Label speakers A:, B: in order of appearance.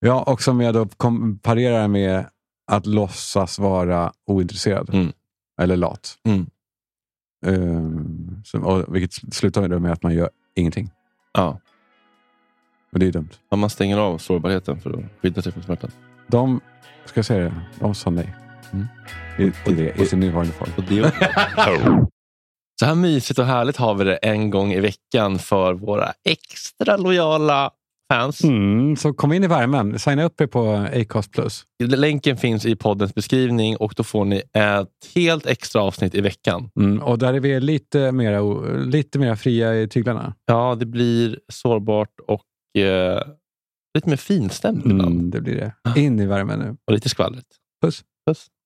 A: Ja, och som jag då komparerar med att låtsas vara ointresserad.
B: Mm.
A: Eller lat.
B: Mm.
A: Ehm, så, och, vilket sl- slutar ju då med att man gör ingenting.
B: Ja.
A: Och det är dumt.
B: Ja, man stänger av sårbarheten för att skydda sig från smärtan.
A: De, ska jag säga det, de sa nej. I, i, det, I sin nuvarande form.
B: Och det... Så här mysigt och härligt har vi det en gång i veckan för våra extra lojala fans.
A: Mm, så kom in i värmen. Signa upp er på Acast+. Plus.
B: Länken finns i poddens beskrivning och då får ni ett helt extra avsnitt i veckan.
A: Mm, och där är vi lite mera, o- lite mera fria i tyglarna.
B: Ja, det blir sårbart och eh, lite mer finstämt ibland.
A: Mm, det blir det. In i värmen nu.
B: Och lite skvallrigt.
A: Puss.
B: Puss.